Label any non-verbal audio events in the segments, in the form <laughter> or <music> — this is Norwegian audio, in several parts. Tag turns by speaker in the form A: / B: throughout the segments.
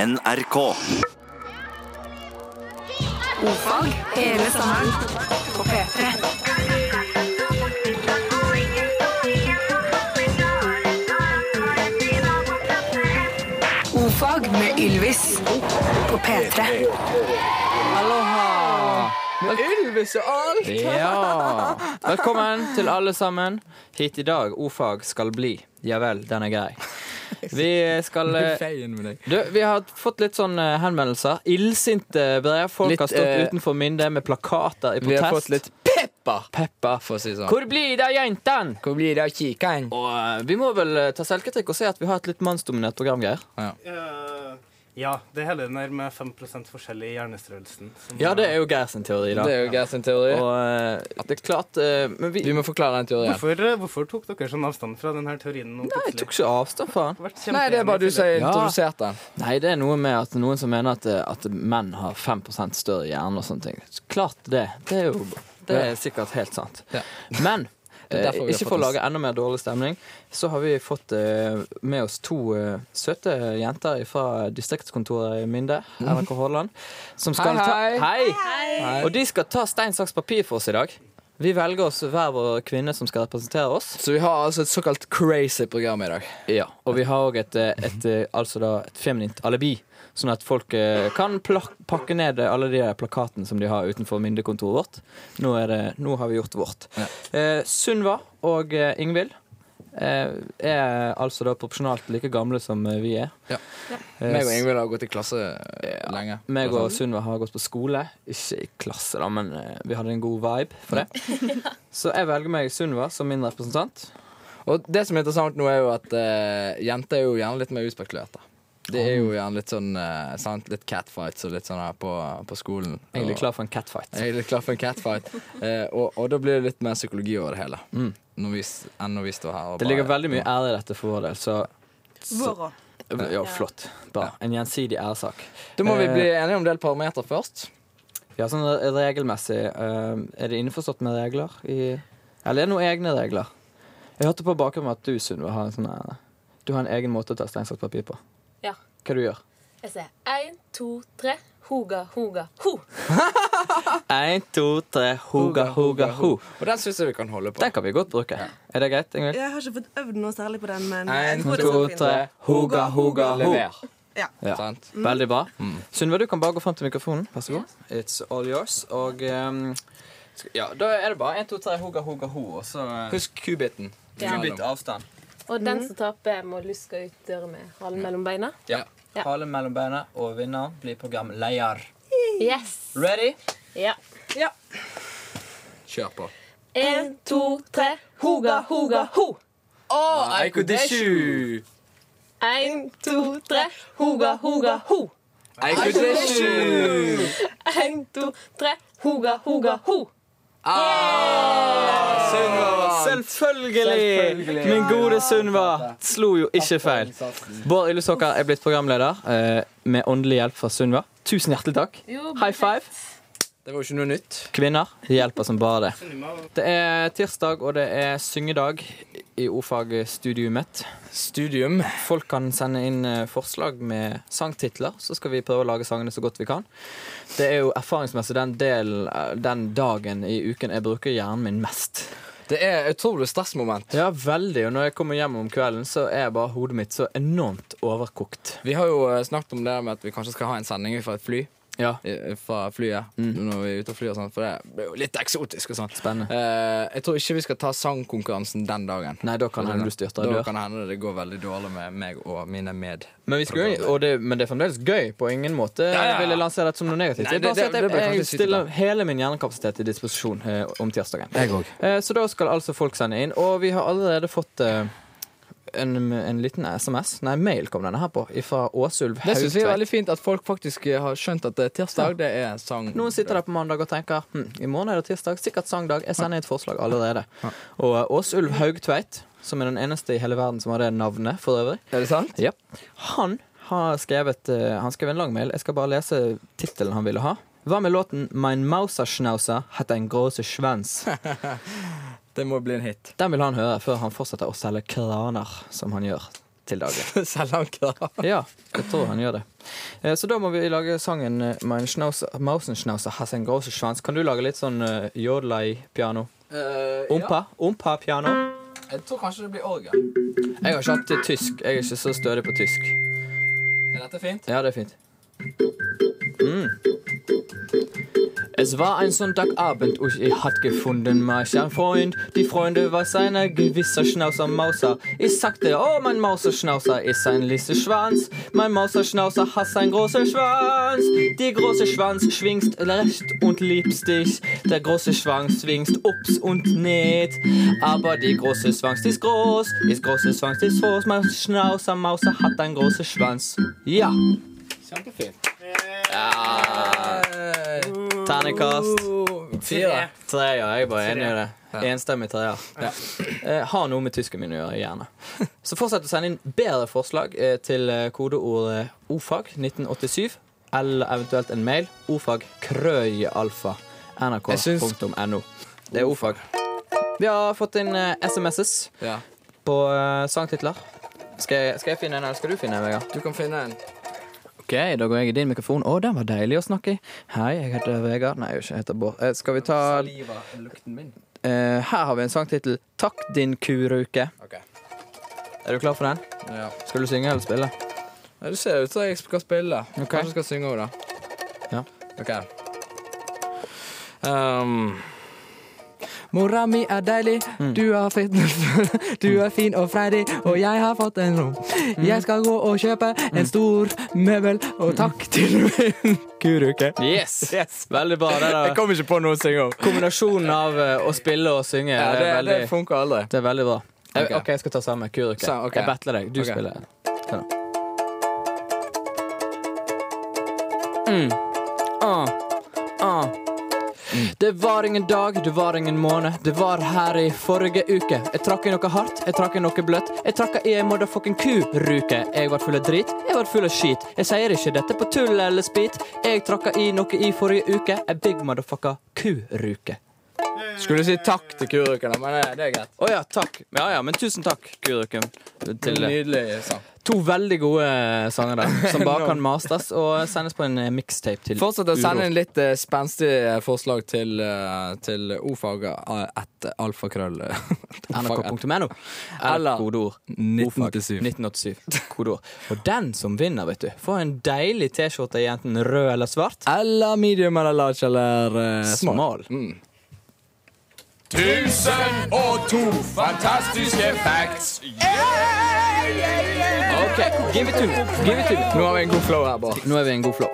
A: NRK.
B: Fag hele sommeren på P3. Ofag med Ylvis på P3.
C: Med Ylvis og alt!
D: Ja!
C: <laughs>
D: Velkommen til alle sammen. Hit i dag. Ordfag skal bli. Ja vel, den er grei. Vi
C: <laughs>
D: skal eh,
C: Feien med deg.
D: du, Vi har fått litt sånn eh, henvendelser. Illsinte brev. Folk
C: Litt,
D: har stått
C: eh,
D: utenfor Minde med plakater i protest.
C: Vi har fått litt pepper,
D: pepper.
C: for å si det sånn.
D: Hvor blir det av jentene?
C: Hvor blir det av kikeren?
D: Og eh, vi må vel eh, ta selvkritikk og se at vi har et litt mannsdominert program, Geir.
E: Eh, ja, det hele den der med 5 forskjell i hjernestørrelsen. som-
D: Ja, det er jo Geir sin teori, da.
C: Det er jo Geir sin teori.
D: Og eh, det er klart eh, Men vi,
C: Vi må forklare den teorien.
E: Hvorfor, eh, hvorfor tok dere sånn avstand fra denne teorien nå
D: Nei, jeg
E: plutselig?
D: tok ikke avstand fra han.
E: Vært kjempeenige
C: Nei, det er bare du som
E: tidligere.
C: introduserte den.
D: Nei, det er noe med at noen som mener at, eh, at menn har 5 større hjerne og sånne ting. Klart det. Det er jo det er sikkert helt sant.
C: Ja.
D: Men
C: Det er
D: eh,
C: derfor vi har
D: ikke
C: fått
D: for å
C: oss-
D: lage enda mer dårlig stemning, så har vi fått eh, med oss to eh, søte jenter fra distriktskontoret i Minde, NRK Hordaland, som skal
C: Mm. Hei, hei.
D: ta hei. Og de skal ta stein, saks, papir for oss i dag. Vi velger oss hver vår kvinne som skal representere oss.
C: Så vi har altså et såkalt crazy program i dag.
D: Ja, og vi har òg et, eh, et, eh, altså da, et feminint alibi. Sånn at folk eh, kan plak pakke ned alle de der plakatene som de har utenfor myndekontoret vårt. Nå, er det, nå har vi gjort vårt. Eh, Sunva og eh, Ingvild eh, er altså da proporsjonalt like gamle som eh, vi er.
C: Ja.
D: Eh,
C: Meg og Ingvild har gått i klasse eh, lenge.
D: meg og Sunva har gått på skole. Ikke i klasse, da, men eh, vi hadde en god vibe for det. Så jeg velger meg Sunva som min representant.
C: Og det som er interessant nå, er jo at eh, jenter er jo gjerne litt mer utspekulerte. Det er jo gjerne litt sånn eh, sant? Litt catfights og litt sånn her på, på skolen.
D: Egentlig
C: Og-
D: klar for en catfight.
C: Jeg er litt klar for en
D: <laughs>
C: catfight. Eh, og, og da blir det litt mer psykologi over det hele. Når vi, s- enn når vi står her og
D: Mm. Det ligger veldig mye ære i dette for vår del, så
F: Våra.
D: Ja, flott. Bra. En gjensidig æresak.
C: Da må vi
D: Eh,
C: bli enige om en del parametere først.
D: Ja, sånn re- regelmessig eh, Er det innforstått med regler i Eller er det noen egne regler? Jeg hørte på bakgrunnen at du, Sunniva, har en sånn eh, Du har en egen måte å ta stein, saks, papir på.
G: Ja.
D: Hva du gjør
G: Jeg sier én, to, tre. Hoga, hoga, ho.
D: Én, to, tre, hoga, hoga, ho.
C: Og den syns jeg vi kan holde på.
D: Den kan vi godt bruke. Er det greit, Ingvild?
F: Jeg har ikke fått øvd noe særlig på den, men jeg
C: En,
F: tror det
D: To,
F: skal
D: tre,
F: fint.
D: hoga, hoga, ho.
C: Lever.
F: Ja.
D: Ja.
C: Sant?
F: Mm.
D: Veldig bra. Sunniva, du kan bare gå frem til mikrofonen. Vær så god. It's all yours. Og ehm, sk- ja, da er det bare én, to, tre, hoga, hoga, ho, og så eh,
C: Husk kubiten.
G: Ja.
D: Kubit avstand.
G: Og den som taper, må luske ut døra med halen mellom beina.
D: Ja.
G: Ja.
D: Hale mellom beina, og vinneren blir programleder.
G: Yes.
D: Ready?
G: Ja.
C: Kjør på.
G: Én, to, tre. Hoga, hoga, ho.
C: Eiko Dishu!
G: Én, to, tre. Hoga, hoga, ho.
C: Eiko Dishu!
G: Én, to, tre. Hoga, hoga, ho.
C: Ah,
D: Selvfølgelig! Min gode Sunva slo jo ikke feil. Bård Yllesokker er blitt programleder eh, med åndelig hjelp fra Sunva. Tusen hjertelig takk.
G: Jo,
D: High five.
C: Det var jo ikke noe nytt.
D: Kvinner hjelper som bare det. Det er tirsdag, og det er syngedag i ordfagstudioet mitt.
C: Studium.
D: Folk kan sende inn eh, forslag med sangtitler, så skal vi prøve å lage sangene så godt vi kan. Det er jo erfaringsmessig den, delen, eh, den dagen i uken jeg bruker hjernen min mest.
C: Det er utrolig stressmoment.
D: Ja, veldig. Og når jeg kommer hjem om kvelden, så er bare hodet mitt så enormt overkokt.
C: Vi har jo eh, snakket om det med at vi kanskje skal ha en sending fra et fly.
D: Ja.
C: i- Fra flyet. Når vi er ute og flyr og sånt, for det er jo litt eksotisk og sånn.
D: Spennende.
C: Eh, jeg tror ikke vi skal ta sangkonkurransen den dagen.
D: Nei, da kan det hende du styrter og
C: Da
D: dør.
C: kan det hende det går veldig dårlig med meg og mine med.
D: Men, vi skal, jo- og det, men det er fremdeles gøy. På ingen måte
C: ja.
D: vil jeg lansere dette som noe negativt.
C: Nei,
D: Det er bare
C: det-
D: å si at
C: det- det bør
D: jeg,
C: kanskje
D: jeg
C: sitte
D: stiller
C: der.
D: hele min hjernekapasitet til disposisjon eh, om tirsdagen. Eh, Så da skal altså folk sende inn. Og vi har allerede fått eh, en, en liten SMS, nei, mail kom denne her på, fra Åsulv
C: Det syns vi er
D: Haugtveit.
C: veldig fint at folk faktisk eh, har skjønt at det er tirsdag. Det er sang
D: Noen sitter der på mandag og tenker hm, i morgen er det tirsdag, sikkert sangdag. Jeg sender et forslag allerede. Og eh, Åsulv Haugtveit, som er den eneste i hele verden som har det navnet for øvrig,
C: Er det sant?
D: Ja. Han har skrevet eh, Han skrev en lang mail. Jeg skal bare lese tittelen han ville ha. Hva med låten 'Mein Mauserschnauzer hat ein große <laughs> Schwanz'?
C: Det må bli en hit.
D: Den vil han høre før han fortsetter å selge kraner, som han gjør til daglig.
C: <laughs>
D: <laughs>
C: Selv om ikke da.
D: Ja, jeg tror han gjør det. Eh, Så da må vi lage sangen eh, Mein Schnauzer, Mausenschnauzer has en große Schwanz. Kan du lage litt sånn uh, jodlai-piano? Ompa? Ompa-piano?
C: Eh, Jeg tror kanskje det blir orgel.
D: Jeg har ikke hatt eh, tysk. Jeg er ikke så stødig på tysk.
C: Er dette fint?
D: Ja, det er fint. Es war ein Sonntagabend und ich hat gefunden mich ein Freund. Die Freunde war seiner gewisser Schnauzer Mauser. Ich sagte, oh, mein Mauserschnauzer ist ein lisser Schwanz. Mein Mauserschnauzer hat einen großen Schwanz. Der große Schwanz schwingst recht und liebst dich. Der große Schwanz schwingst ups und ned. Aber die große Schwanz ist groß, ist große Schwanz ist groß. Mein Schnauzer Mauser hat einen großen Schwanz. Ja,
C: Kjempefint.
D: ternekast.
C: Fire.
D: Tre, ja. Jeg er bare enig i det.
C: Ja.
D: Enstemmig treer. Eh, har noe med tysken min å gjøre. gjerne <laughs> Så fortsett å sende inn bedre forslag eh, til eh, kodeordet ofag 1987, eller eventuelt en mail ofag krøyalfa
C: Jeg syns-
D: nrk.no. Det er ofag. Vi har fått inn eh, SMS
C: Ja.
D: på eh, sangtitler. Skal jeg, skal jeg finne en, eller skal du finne en? Vegard?
C: Du kan finne en.
D: Ok, da går jeg i din mikrofon. Å, den var deilig å snakke i. Hei, jeg heter Vegard. Nei, jeg heter ikke- heter Bård. Eh, Skal vi ta eh, Her har vi en sangtittel. Takk din kuruke.
C: Ok.
D: Er du klar for den?
C: Ja.
D: Skal du synge eller spille?
C: Ja, Du ser ut som jeg skal spille.
D: Ok.
C: Kanskje jeg skal synge òg, da.
D: Ja.
C: OK. Um. Mora mi er deilig, du er fin, <laughs> du er fin og freidig, og jeg har fått en rom. Jeg skal gå og kjøpe en stor møbel, og takk til min kuruke. <laughs>
D: Yes! Veldig bra. Det er
C: Jeg
D: da.
C: kom ikke på noe å synge om.
D: <laughs> kombinasjonen av eh, å spille og synge.
C: Ja,
D: det, er veldig, det,
C: funker aldri.
D: er veldig bra. Eh,
C: Ok.
D: OK, jeg skal ta sammen. Kuruke.
C: Sa- ok.
D: Jeg battler deg. Du
C: Ok.
D: spiller. Kom da. Mm. Ah. Ah. Det var ingen dag, det var ingen måned. Det var her i forrige uke. Jeg trakk i noe hardt, jeg trakk i noe bløtt. Jeg trakk i ei motherfucking kuruke. Jeg var full av drit, jeg var full av skit. Jeg sier ikke dette på tull eller spit. Jeg trakk i noe i forrige uke. Ei big motherfucka kuruke.
C: Skulle si takk til kuruken, da, men eh, det er greit.
D: Å ja, takk. Ja ja, men tusen takk, kuruken. Til det.
C: Nydelig liksom. sang.
D: To veldig gode eh, sanger der, som <laughs> bare kan mastes og sendes på en eh, mixtape til
C: Fortsett å sende
D: uro.
C: inn litt eh, spenstige forslag til, eh, til eh, <laughs> ofag1alfakrøll.
D: NRK.no.
C: Eller
D: Eller kodeord
C: 1987.
D: 1987. Kodeord. Og den som vinner, vet du, får en deilig T-skjorte i enten rød eller svart.
C: Eller medium eller large eller eh, small.
D: Smal. OK, give it to me. Give it to me.
C: Nå har vi en god flow her, Bård.
D: Nå er vi i en god flow.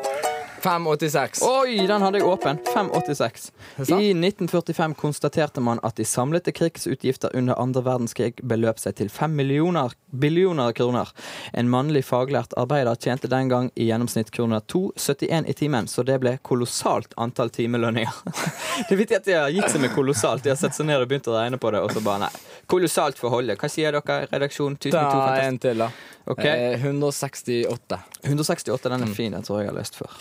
C: 586.
D: Oi, den hadde jeg åpen. 586.
C: det sant?
D: I 1945 konstaterte man at de samlede krigsutgifter under andre verdenskrig beløp seg til 5 millioner billioner kroner. En mannlig faglært arbeider tjente den gang i gjennomsnitt kroner 2,71 i timen, så det ble kolossalt antall timelønninger. <laughs> Det er viktig at de har gitt seg med kolossalt. De har sett seg ned og begynt å regne på det, og så bare nei. Kolossalt forholdet. Hva sier dere, redaksjon?
C: Ta
D: 1002?
C: en til, da.
D: Ok.
C: Eh, 168.
D: 168, den er fin. Den tror jeg jeg har lest før.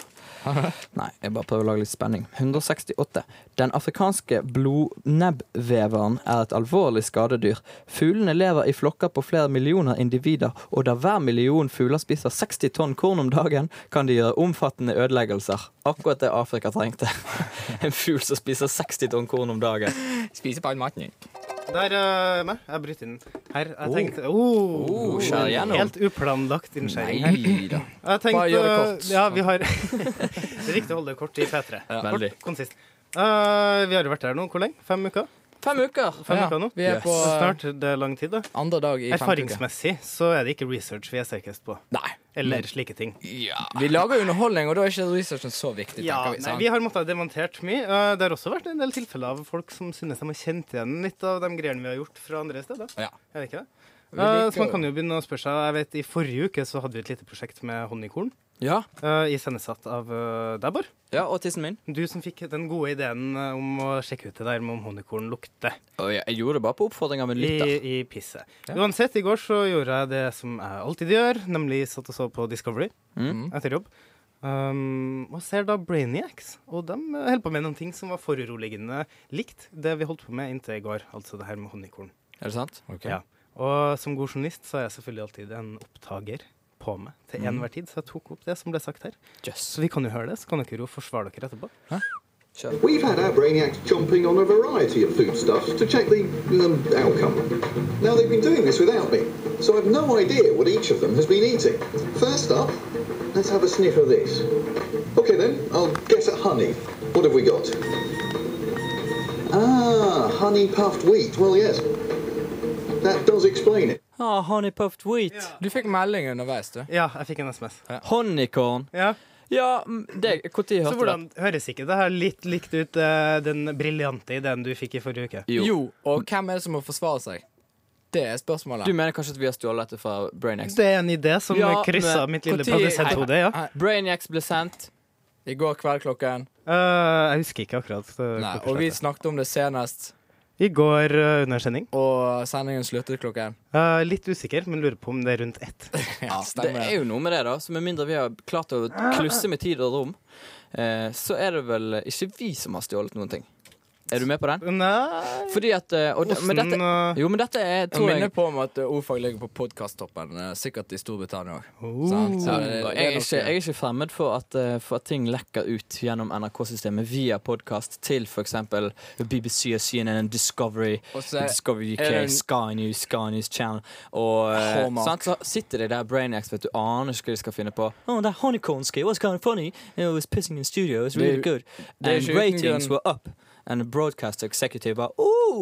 D: Nei, jeg bare prøver å lage litt spenning. 168. Den afrikanske blodnebbveveren er et alvorlig skadedyr. Fuglene lever i flokker på flere millioner individer, og da hver million fugler spiser 60 tonn korn om dagen, kan de gjøre omfattende ødeleggelser. Akkurat det Afrika trengte. <laughs> En fugl som spiser 60 tonn korn om dagen.
C: Spiser på all maten din.
E: Der er meg. Jeg bryter inn her. Jeg tenkte oh,
D: Oh, skjær igjennom.
E: Helt uplanlagt innskjæring her.
C: Nei da.
E: Jeg tenkte,
C: Bare gjør det kort.
E: Ja, vi har <laughs> Det er riktig å holde det kort i P3. Kort,
D: veldig.
E: konsist. Eh, vi har jo vært her nå hvor lenge? Fem uker?
D: Fem uker!
E: Fem
C: Ja,
E: uker nå?
C: vi er
D: Yes.
C: på eh,
E: Snart. Det er lang tid, da.
C: andre dag i femte uke.
E: Erfaringsmessig så er det ikke research vi er sterkest på.
C: Nei.
E: Eller slike ting.
C: Vi lager jo underholdning, og da er ikke researchen så viktig.
E: Ja,
C: tenker vi,
E: nei,
C: sant?
E: vi har måttet ha demontert mye. Eh, Det har også vært en del tilfeller av folk som synes de har kjent igjen litt av de greiene vi har gjort fra andre steder.
C: Ja.
E: Er det ikke det?
C: Vi
E: Eh,
C: liker
E: Så man
C: jo-
E: kan jo begynne å spørre seg Jeg vet, I forrige uke så hadde vi et lite prosjekt med honningkorn.
D: Ja.
E: eh, Iscenesatt av eh, deg, Bård.
D: ja, og tissen min.
E: Du som fikk den gode ideen eh, om å sjekke ut det der med om honningkorn lukter
D: Å, Jeg jeg gjorde det bare på oppfordring av en lytter.
E: i, i pisset. Uansett, i går så gjorde jeg det som jeg alltid gjør, nemlig satt og så på Discovery
D: Mm.
E: etter jobb. Um, og ser da Brainiacs, og de eh, holder på med noen ting som var foruroligende likt det vi holdt på med inntil i går, altså det her med honningkorn.
D: Er det sant?
C: Ok.
E: Ja. Og som god journalist så er jeg selvfølgelig alltid en opptaker. på meg
D: Mm.
E: til enhver tid, så jeg tok opp det som ble sagt her.
D: Jøss.
E: Så vi kan jo høre det, så kan dere jo forsvare dere etterpå.
A: We've had our brainiacs chomping on a variety of foodstuffs to check the um, outcome. Now they've been doing this without me, so I've no idea what each of them has been eating. First up, let's have a sniff of this. Okay then, I'll guess at honey. What have we got? Ah, honey puffed wheat. Well, yes, that does explain it.
D: Ah, honey puffed wheat.
C: Du fikk melding underveis, du.
E: Ja, jeg fikk en SMS.
D: Honeycorn.
E: Ja,
D: Ja, mm, det Når
E: Så
D: hørte du det?
E: hvordan høres ikke det her litt likt ut eh, den briljante ideen du fikk i forrige uke?
D: Jo.
C: Jo, og hvem er det som må forsvare seg? Det er spørsmålet.
D: Du mener kanskje at vi har stjålet dette fra Brainiacs?
E: Det er en idé som
D: Ja,
E: kryssa
D: men
E: mitt lille
C: hvor tid-
E: produsenthode, ja.
C: Nei,
D: Brainiacs ble sendt.
C: I går kveld klokken
E: Eh, jeg husker ikke akkurat.
C: Nei,
E: eh, klokkeslettet.
C: Og vi snakket om det senest,
E: I går eh, under sending.
C: og sendingen sluttet klokken
E: Eh, litt usikker, men lurer på om det er rundt ett.
C: Ja,
D: Det er jo noe med det, da. Så med mindre vi har klart å klusse med tid og rom, eh, så er det vel ikke vi som har stjålet noen ting. Er du med på den?
E: Nei
D: Fordi at eh, og, det- men
E: Åssen,
D: dette,
E: eh,
D: Jo, men dette er
C: Jeg
D: tror
C: minner
D: jeg
C: på om at ordfag ligger på podkasttoppen, sikkert i Storbritannia òg.
D: Oh. ja, og Eh, jeg, er ikke, jeg er ikke fremmed for at, eh, for at ting lekker ut gjennom NRK-systemet via podkast til f.eks. BBC, CNN, Discovery,
C: Og så er-
D: Discovery
C: er det en-
D: UK, Sky News, Sky News Channel og eh,
C: Hallmark.
D: sant, Så sitter de der, Brainiacs, vet du, aner ikke hva de skal finne på. Oh, that honeycomb skate was kind of funny. It was pissing in studio. It was really
C: Det er-
D: good.
C: er
D: And
C: ikke uten
D: ratings
C: grunn-
D: were up. And the broadcast executive var oh,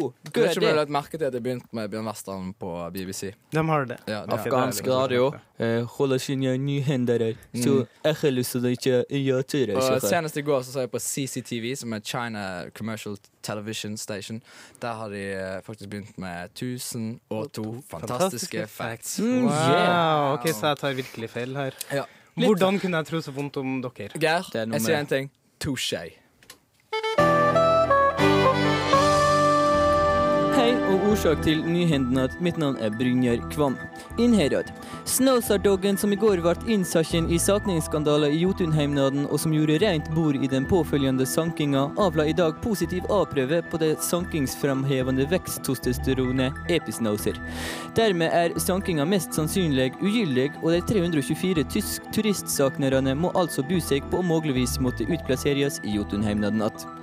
C: Du har
D: good
C: ikke ble
D: idea.
C: lagt merke til at jeg begynte med Bjørn Western på BBC?
E: De har det.
C: Ja, det- liksom
D: Afghansk radio eh, holder sine nyhender, så jeg lyser ikke gjøre det.
C: Mm. Og
D: ikke sant?
C: senest i går så så jeg på CCTV, som er China Commercial Television Station. Der har de eh, faktisk begynt med 1002 fantastiske facts.
D: Mm,
E: Wow.
D: yeah.
E: OK, så jeg tar virkelig feil her.
C: Ja.
E: Hvordan kunne jeg tro så vondt om dere?
C: Geir,
D: Det er noe
C: jeg sier
D: med-
C: en ting. Touché.
D: Hei og orsak til nyhendene at mitt navn er Brynjar Kvam. Innherad. Snåsardoggen som i går ble innsaken i sakningsskandaler i Jotunheimnaden, og som gjorde rent bord i den påfølgende sankinga, avla i dag positiv A-prøve på det sankingsframhevende veksttostesterone episnoser. Dermed er sankinga mest sannsynlig ugyldig, og de 324 tysk turistsaknerne må altså bu seg på å muligvis måtte utplasseres i Jotunheimnaden igjen.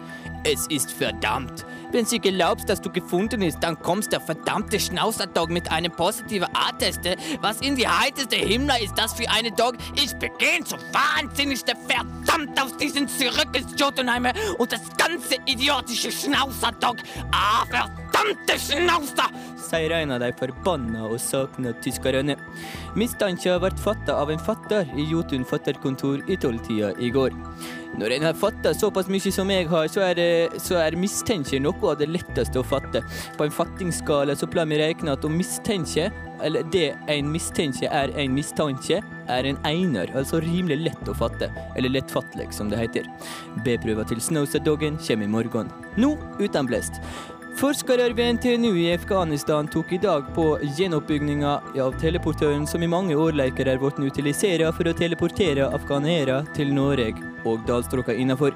D: Es ist verdammt. Wenn Sie glaubst, dass du gefunden ist, dann kommst der verdammte Schnauzerdog mit einem positiven A-Teste. Was in die heiteste Himmler ist das für eine Dog? Ich begehe so wahnsinnigste verdammt auf diesen Zirkus Jotunheimer und das ganze idiotische Schnauzerdog. Ah, verdammte Schnauzer! Sier en av de forbanna og savna tyskerne. Mistanken ble fatta av en fatter i Jotun fatterkontor i tolvtida i går. Når en har fatta såpass mye som jeg har, så er, det, så er mistenke noe av det letteste å fatte. På en fattingsskala så pleier vi regne at å mistenke, eller det en mistenke er en mistanke, er en einer, altså rimelig lett å fatte. Eller lettfattelig, som det heter. B-prøva til Snowsa-doggen kommer i morgen. Nå uten blest. Forskere ved NTNU i Afghanistan tok i dag på gjenoppbygninga av teleportøren som i mange år leker er blitt utilisert for å teleportere afghanere til Norge og dalstrøka innafor.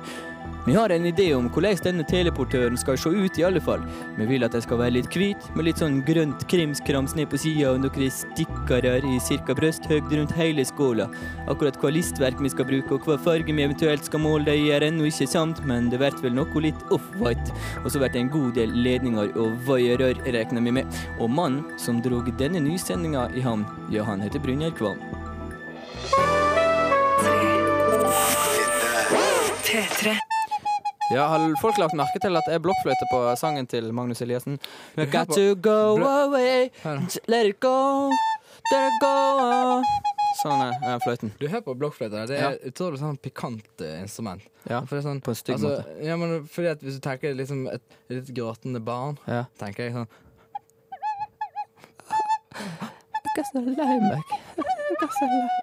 D: Vi har en idé om hvordan denne teleportøren skal se ut, i alle fall. Vi vil at den skal være litt hvit, med litt sånn grønt krimskrams ned på sida og noen stikkere i ca. brysthøyde rundt hele skåla. Akkurat hva listverk vi skal bruke og hva farge vi eventuelt skal måle det i, er ennå ikke sant, men det blir vel noe litt off-white. Og så blir det en god del ledninger og vaierer, regner vi med. Og mannen som drog denne nysendinga i havn, ja, han heter Brynjar Kvam.
B: P3.
D: Ja, har folk lagt merke til at det er blokkfløyte på sangen til Magnus Eliassen? We got to go away, just let it go, let it go Sånn er den fløyten.
C: Du hører på blokkfløyta. Det er utrolig sånn pikant eh, instrument.
D: Ja,
C: For det er sånn,
D: på en stygg måte.
C: Ja, men fordi at Hvis du tenker liksom et litt gråtende barn,
D: Ja.
C: tenker jeg sånn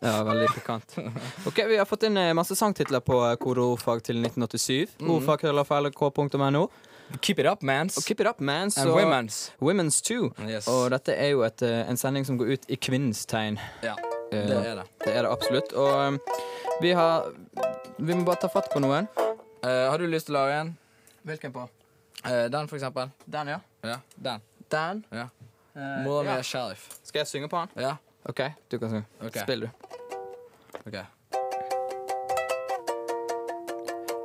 D: Ja, veldig pikant. <laughs> Ok, Vi har fått inn eh, masse sangtitler på eh, kode ordfag til 1987. Ordfag.lflk.no.
C: Keep it up, mans.
D: Og keep it up, man.
C: And
D: Så
C: women's.
D: Women's too.
C: Yes.
D: Og dette er jo et, eh, en sending som går ut i kvinnens tegn.
C: Ja,
D: Eh,
C: det er det.
D: Det er det absolutt. Og eh, vi har Vi må bare ta fatt på noen.
C: Eh, har du lyst til å lage en?
D: Hvilken på?
C: Eh, den, for eksempel.
D: Den, ja.
C: Ja, den.
D: Den.
C: Ja.
D: Eh,
C: Mora mi
D: ja.
C: er sheriff.
D: Skal jeg synge på den?
C: Ja.
D: OK, du kan synge.
C: Ok.
D: Spill, du. Ok.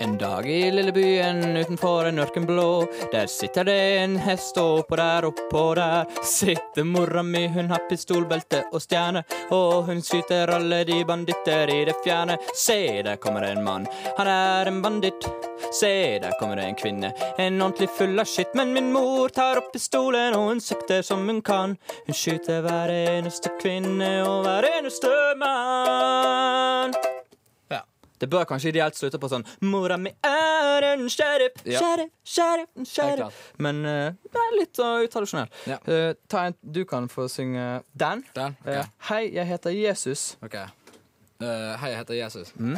D: En dag i lillebyen utenfor en ørkenblå, der sitter det en hest, og oppå der, oppå der sitter mora mi, hun har pistolbelte og stjerne, og hun skyter alle de banditter i det fjerne. Se, der kommer en mann, han er en banditt. Se, der kommer en kvinne, en ordentlig full av skitt, men min mor tar opp pistolen, og hun sikter som hun kan. Hun skyter hver eneste kvinne og hver eneste mann. Det bør kanskje ideelt slutte på sånn Mora mi er en sheriff,
H: Ja.
D: sheriff, sheriff, en
H: Det er klart.
D: sheriff. Men eh, det er litt uh, utradisjonell.
H: Ja.
D: Eh, ta en, du kan få synge den.
H: Den? Ok.
D: Eh, hei, jeg heter Jesus.
H: Ok. Eh, hei, jeg heter Jesus.
D: Mm.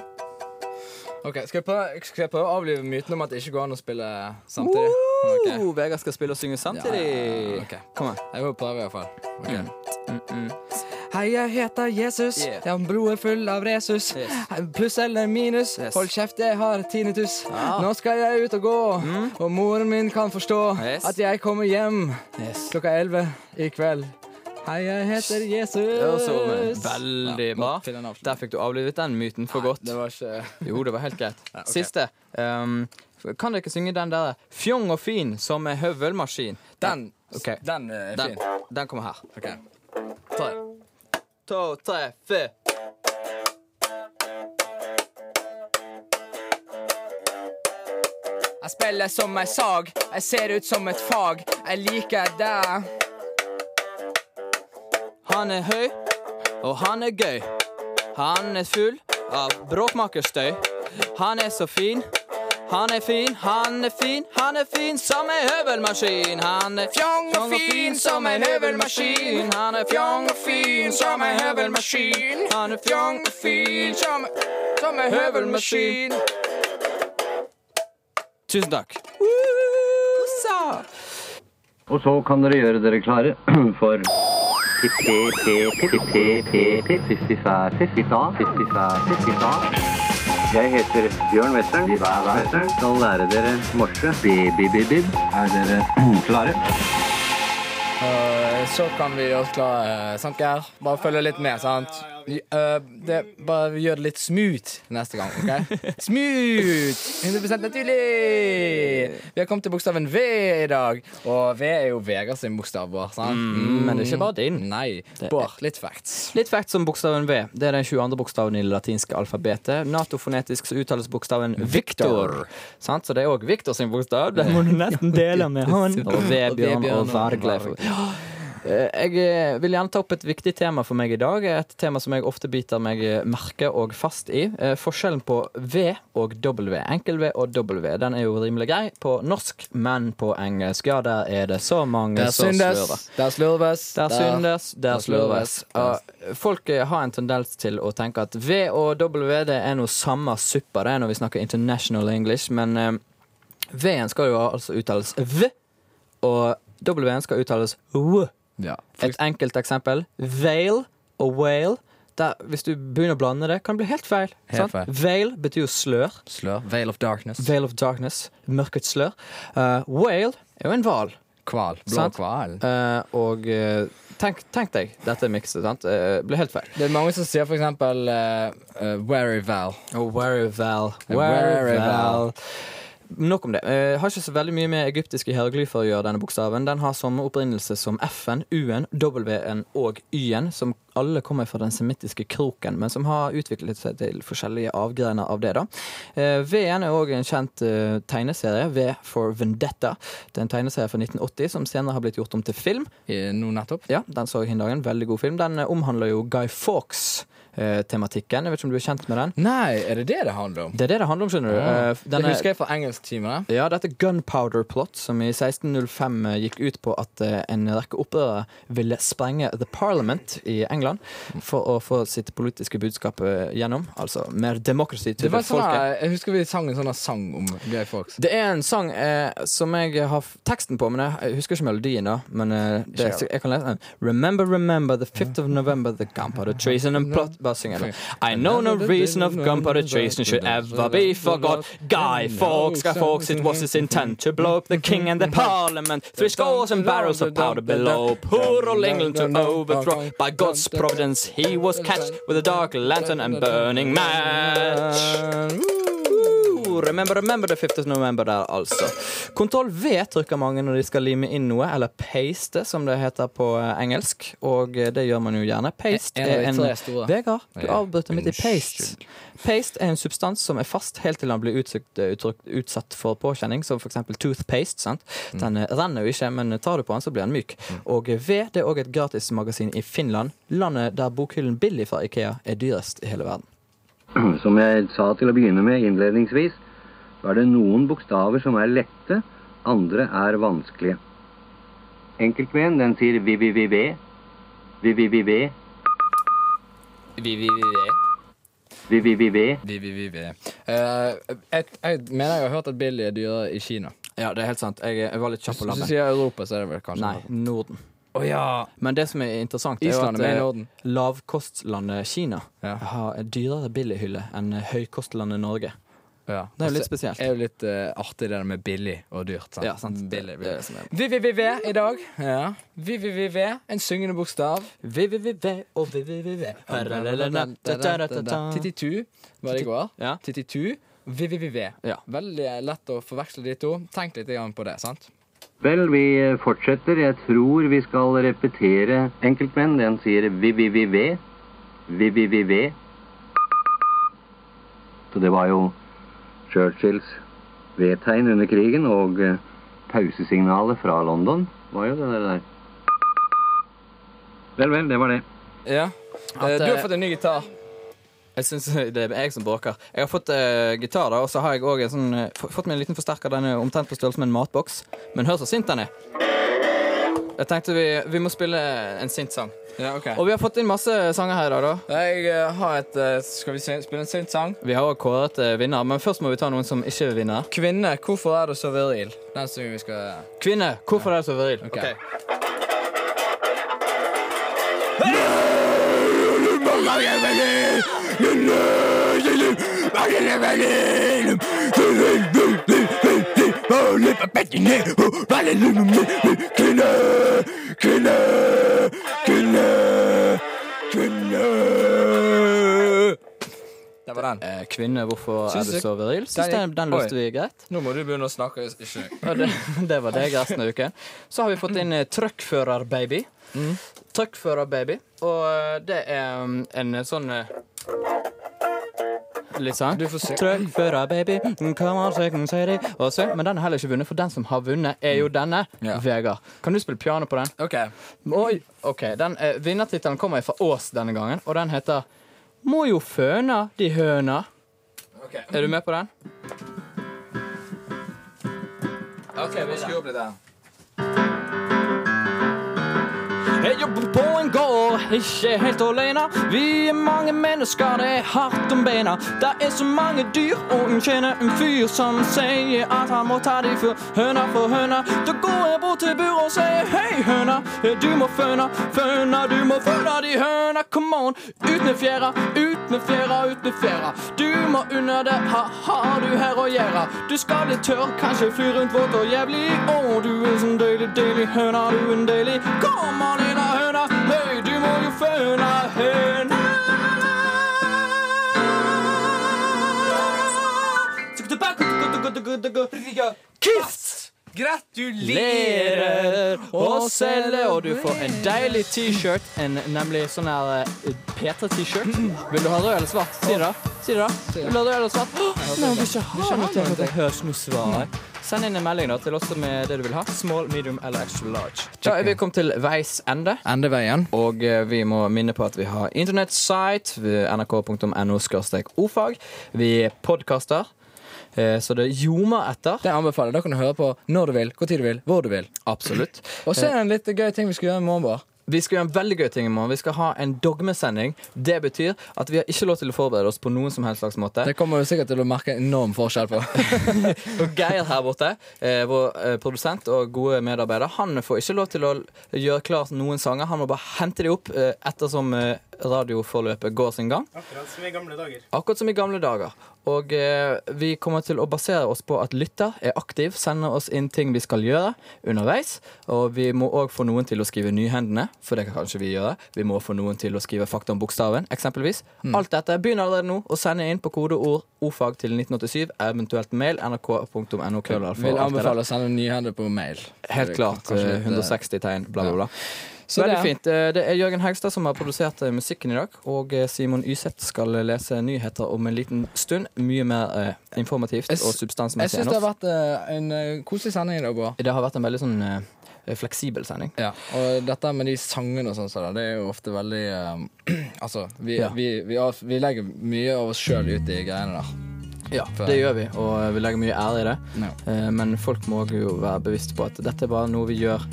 H: Ok, skal jeg, prøve, skal jeg prøve å avlive myten om at det ikke går an å spille samtidig? Ok.
D: Oh, Vegard skal spille og synge samtidig.
H: Ja, ok.
D: Kom her.
H: Jeg får prøve i hvert fall. Ok.
C: Mm. Hei, jeg heter Jesus.
D: Yeah.
C: Jeg har blodet full av resus.
D: Yes.
C: Hei, Pluss eller minus.
D: Yes.
C: Hold kjeft, jeg har tinnitus.
H: Ah.
C: Nå skal jeg ut og gå,
H: Mm.
C: og moren min kan forstå
D: Yes.
C: at jeg kommer hjem
D: Yes.
C: klokka elleve i kveld. Hei, jeg heter
D: Det var så, men,
C: Jesus.
D: veldig
H: Ja,
D: bra.
H: til en avslutning.
D: Der fikk du avlivet den myten for godt.
H: Det var ikke
D: Jo, det var
H: <laughs>
D: helt greit.
H: ok.
D: Siste. Um, kan dere synge den der Fjong og fin som en høvelmaskin?
H: Den,
D: Ok.
H: den er
D: Den,
H: fin.
D: den kommer her.
H: Ok. Ta det.
D: to, tre, fire.
C: Jeg spiller som ei sag, jeg ser ut som et fag, jeg liker deg.
D: Han er høy, og han er gøy. Han er full av bråkmakerstøy. Han er så fin. Han er fin, han er fin, han er fin som ei høvelmaskin. Han er fjong og fin som ei høvelmaskin. Han er fjong og fin som ei høvelmaskin. Han er fjong og fin som, som ei høvelmaskin. Tusen takk.
I: Og så kan dere gjøre dere klare for Jeg heter Bjørn Western. Western. Skal lære dere morse. Bi-bi-bi-bib. Er dere klare?
H: Eh, Så kan vi gjøre oss klare, sant, Geir? Bare følge litt med, sant? Eh, det, bare gjør det litt smooth neste gang,
D: <laughs>
H: OK? Smooth! 100 naturlig! Vi har kommet til bokstaven V i dag. Og V er jo Vegard sin bokstav, Bård. sant?
D: Mm.
H: Mm.
D: men det er ikke bare din.
H: Nei.
D: Det er-
H: Bård, litt facts.
D: Litt facts om bokstaven V. Det er den 22. bokstaven i det latinske alfabetet. Natofonetisk så uttales bokstaven Victor. Sant? Så det er òg Victor sin bokstav. Den må du <laughs> nesten dele med han. Og Vebjørn og Vargle. Eh, Jeg eh, vil gjerne ta opp et viktig tema for meg i dag. Et tema som jeg ofte biter meg eh, merke og fast i. Eh, Forskjellen på V og W. Enkel-V og W. Den er jo rimelig grei på norsk, men på engelsk, ja, der er det så mange
H: Der
D: som slurver.
H: syndes, der slurves,
D: Der syndes, der slurves.
H: Der-
D: Og Folk eh, har en tendens til å tenke at V og W det er noe samme suppa det er når vi snakker international English, men eh, V-en skal jo altså uttales V, og W-en skal uttales W.
H: Ja. For
D: Et enkelt eksempel. Veil og whale. Der, hvis du begynner å blande det, kan det bli helt feil.
H: Helt feil.
D: Veil betyr jo slør.
H: slør. Veil of darkness.
D: Veil of darkness. Mørkets slør. Eh, whale er jo en hval.
H: Kval. Blå
D: Sant.
H: kval.
D: Eh, og eh, tenk, tenk deg dette mikset. sant? Eh, ble helt feil.
H: Det er mange som sier for eksempel eh, eh, Wary Val.
D: Og Warival.
H: Warival.
D: Nok om det. Eh, har ikke så veldig mye med egyptiske hieroglyfer å gjøre. denne bokstaven. Den har samme opprinnelse som F-en, U-en, W-en og Y-en, som alle kommer fra den semittiske kroken, men som har utviklet seg til forskjellige avgrener av det. da. Eh, V-en er òg en kjent eh, tegneserie, V for Vendetta. Det er en tegneserie fra 1980 som senere har blitt gjort om til film.
H: I- Nå nettopp.
D: Ja, den så jeg hin dagen. Veldig god film. Den eh, omhandler jo Guy Fawkes-tematikken. Jeg vet ikke om du er kjent med den?
H: Nei, er det det det handler om?
D: Det er det det handler om, skjønner du. Eh, f-
H: Ah, Det
D: denne-
H: husker jeg fra engelsktimene.
D: ja, dette Gunpowder Plot, som i 1605 gikk ut på at eh, en rekke opprørere ville sprenge The Parliament i England for å få sitt politiske budskap eh, gjennom. Altså mer demokrati
H: Det
D: til
H: var sånn
D: folket.
H: her- Jeg husker vi sang en sånn her sang om gay folks.
D: Det er en sang eh, som jeg har f- teksten på, men jeg, jeg husker ikke melodien. da Men eh, det,
H: Ikke jeg.
D: jeg kan lese den. Remember, remember the 5th of November, the gunpowder treason and plot bare synger den. I know no reason of gunpowder chasing should ever be forgot. Guy Fawkes, Guy Fawkes, it was his intent to blow up the king and the parliament. Three scores and barrels of powder below. Poor old England to overthrow. By God's providence, he was catched with a dark lantern and burning match. Eh, Woo! Remember, remember the 50th November der, altså. Kontroll V trykker mange når de skal lime inn noe, eller paste, som det heter på eh, engelsk. Og eh, det gjør man jo gjerne. Paste
C: En av de
D: er en
C: tre store.
D: Vegard, du
C: Ja,
D: avbryter midt i paste.
C: unnskyld.
D: Paste er en substans som er fast helt til den blir utsøkt, eh, uttrykt, utsatt for påkjenning, som f.eks. toothpaste. sant?
C: Mm.
D: Den eh, renner jo ikke, men tar du på den, så blir den myk. Og eh, V det er òg et gratismagasin i Finland, landet der bokhyllen Billy fra Ikea er dyrest i hele verden.
I: Som jeg sa til å begynne med innledningsvis, så er det noen bokstaver som er lette, andre er vanskelige. Enkeltmen, den sier vi-vi-vi-vi, vi-vi-vi-vi,
C: Vi, vi, vi, vi.
I: vi-vi-vi-vi.
C: Vi, vi, vi, vi. Eh, jeg, jeg mener jeg har hørt at Billy er dyrere i Kina.
D: Ja, det er helt sant. Jeg, jeg var litt kjapp på
C: Hvis du
D: labben.
C: sier Europa, så er det vel kanskje
D: Nei, Norden.
C: Å ja.
D: Men det som er interessant, er
C: Island er med
D: jo
C: i
D: at
C: Norden.
D: eh, lavkostlandet Kina
C: Ja.
D: har en dyrere billighylle enn eh, høykostlandet Norge.
C: Ja.
D: Det er jo
H: Altså,
C: Og
D: litt
C: så
D: spesielt.
C: Er jo litt eh, artig det der med billig og dyrt. Sant?
D: Ja, sant.
C: Billig,
D: Det er
C: billig.
D: det som er-
C: Vi, vi, vi, vi i dag. Ja. Vi, vi, vi, vi. En syngende bokstav.
D: VVVV og VVVV.
C: Tittitu var det i går.
D: Ja.
C: Tittitu. Vi, vi, vi, vi.
D: Ja.
C: Veldig lett å forveksle de to. Tenk litt grann på det, sant?
I: Vel, vi fortsetter. Jeg tror vi skal repetere enkeltmenn. Den sier vi-vi-vi-vi, vi-vi-vi-vi. Så det var jo Churchills V-tegn under krigen, og eh, pausesignalet fra London var jo det der. Vel, vel, det var det.
C: Ja.
D: At,
C: du
D: eh,
C: har fått en ny gitar.
D: Jeg synes <laughs> det er jeg som bråker. Jeg har fått eh, gitar, da, og så har jeg også en sånn, eh, f- fått meg en liten forsterker. Den er omtrent på størrelse med en matboks. Men hør så sint den er. Jeg tenkte vi, vi må spille en sint sang.
C: Ja, ok.
D: Og vi har fått inn masse sanger her i dag, da.
C: Jeg eh, har et eh, Skal vi se- spille en sint sang?
D: Vi har også kåret eh, vinner, men først må vi ta noen som ikke er vinner.
C: Kvinne, hvorfor er du så viril? Den som vi skal
D: Kvinne, hvorfor er du så viril?
C: Ok. Det var den.
D: Eh, Kvinne, hvorfor
C: Syns
D: er du
C: jeg-
D: så viril? Syns
C: Den-
D: den, den løste
C: Oi.
D: vi greit.
C: Nå må du begynne å snakke. Ikke.
D: Og det, <laughs> det var deg resten av uken. Så har vi fått inn eh, Truckfører-baby.
C: Mm.
D: Truckfører-baby. Og eh, det er um, en eh, sånn eh, Litt sånn.
C: Du får se.
D: Truckfører-baby, mm, come on, take me, say it. Og så- Men den har heller ikke vunnet, for den som har vunnet, er jo denne.
C: Mm. Ja.
D: Vegard. Kan du spille piano på den?
C: OK.
D: Oi, ok, den eh, Vinnertittelen kommer fra Ås denne gangen, og den heter Må jo føna de høna.
C: Ok.
D: Er du med på den?
C: Ok, vi skrur opp litt her.
D: Jeg jobber på en gård, ikke helt alene. Vi er mange mennesker, det er hardt om beina. Det er så mange dyr, og hun kjenner en fyr som sier at han må ta de for høna for høna. Da går jeg bort til buret og sier hei, høna, du må føna, føna, du må føna de høna. Come on, ut med fjæra, ut med fjæra, ut med fjæra. Du må under det, ha har du her å gjøre? Du skal litt tørr, kanskje fly rundt våt og jævlig. Å, du er sånn deilig, deilig høna, du er en deilig. Kom an, lilla høna, høy, du må jo føna høna. Kiss! Gratulerer og selger, og du får en deilig T-shirt. En nemlig sånn her eh, P3-T-shirt. Vil du ha rød eller svart? Si det, da. Si det da. Vil du ha rød eller svart? Åh, Nei, jeg vil ikke ha noe til det høres noe svar. Send inn en melding da til oss med det du vil ha. Small, medium eller extra large. Da er vi kommet til veis ende.
C: Endeveien.
D: Og eh, vi må minne på at vi har internettsite, ved nrk.no ofag. Vi podkaster, eh, så det ljomer etter.
C: Det anbefaler jeg. Da kan du høre på når du vil, hvor tid du vil, hvor du vil.
D: Absolutt.
C: Og så er det en litt gøy ting vi skal gjøre i morgen. Bård.
D: Vi skal gjøre en veldig gøy ting i morgen. Vi skal ha en dogmesending. Det betyr at vi har ikke lov til å forberede oss på noen som helst slags måte.
C: Det kommer du sikkert til å merke enorm forskjell
D: <laughs>
C: på.
D: Og Geir her borte, eh, vår eh, produsent og gode medarbeider, han får ikke lov til å l- gjøre klart noen sanger. Han må bare hente de opp eh, ettersom eh, radioforløpet går sin gang.
E: Akkurat som i gamle dager.
D: Akkurat som i gamle dager. Og eh, vi kommer til å basere oss på at lytter er aktiv, sender oss inn ting vi skal gjøre underveis. Og vi må òg få noen til å skrive nyhendene, for det kan kanskje vi gjøre. Vi må få noen til å skrive fakta om bokstaven, eksempelvis.
C: Mm.
D: Alt dette begynner allerede nå å sende inn på kodeord ordfag til 1987, eventuelt mail nrk.no.
C: Vil anbefale å sende nyhender på mail.
D: Helt klart.
C: Kanskje litt,
D: eh,
C: eh,
D: 160 tegn, bla, bla, bla.
C: Så
D: Veldig
C: det-
D: fint. Eh, Det er Jørgen Haugstad som har produsert eh, musikken i dag. Og eh, Simon Yseth skal eh, lese nyheter om en liten stund. Mye mer eh, informativt
C: Jeg s-
D: og
C: Jeg
D: substansmessig
C: syns
D: enn
C: det har
D: oss.
C: vært eh, en eh, koselig sending i dag, Bård.
D: Det har vært en veldig sånn eh, fleksibel sending.
C: Ja, og dette med de sangene og sånn, så da, det er jo ofte veldig eh, <clears throat> Altså, vi,
D: Ja.
C: vi, vi, av- vi legger mye av oss sjøl ut i greiene der.
D: Ja,
C: For-
D: Det gjør vi, og eh, vi legger mye ære i det.
C: Ja.
D: Eh, Men folk må jo være bevisst på at dette er bare noe vi gjør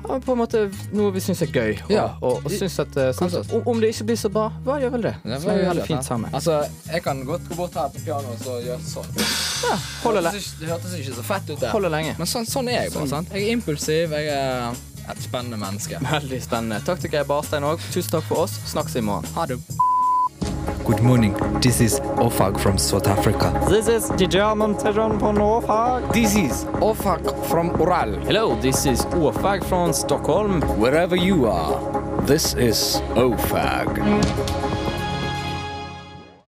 D: ja, på en måte noe vi syns er gøy. Og,
C: Ja.
D: og, og syns at eh, sant,
C: oss.
D: om, om det ikke blir så bra, hva gjør vel det?
C: Det
D: Så
C: var
D: vi
C: jo
D: har det
C: dette.
D: fint sammen.
C: Altså, jeg kan godt gå bort her på pianoet og gjøre sånn. Det
D: Holder, le
C: hørtes ikke- det hørtes ikke så fett ut, det.
D: holder lenge.
C: Men sånn, sånn er jeg bare. sant? Jeg er impulsiv. Jeg er et spennende menneske.
D: Veldig spennende. Takk til Geir Barstein òg. Tusen takk for oss. Snakkes i morgen.
C: Ha det.
J: Good morning. This is Ofag from South Africa.
D: This is the German Tejan på Norfag.
J: This is Ofag from Ural.
D: Hello, this is Ofag from Stockholm.
J: Wherever you are, this is Ofag.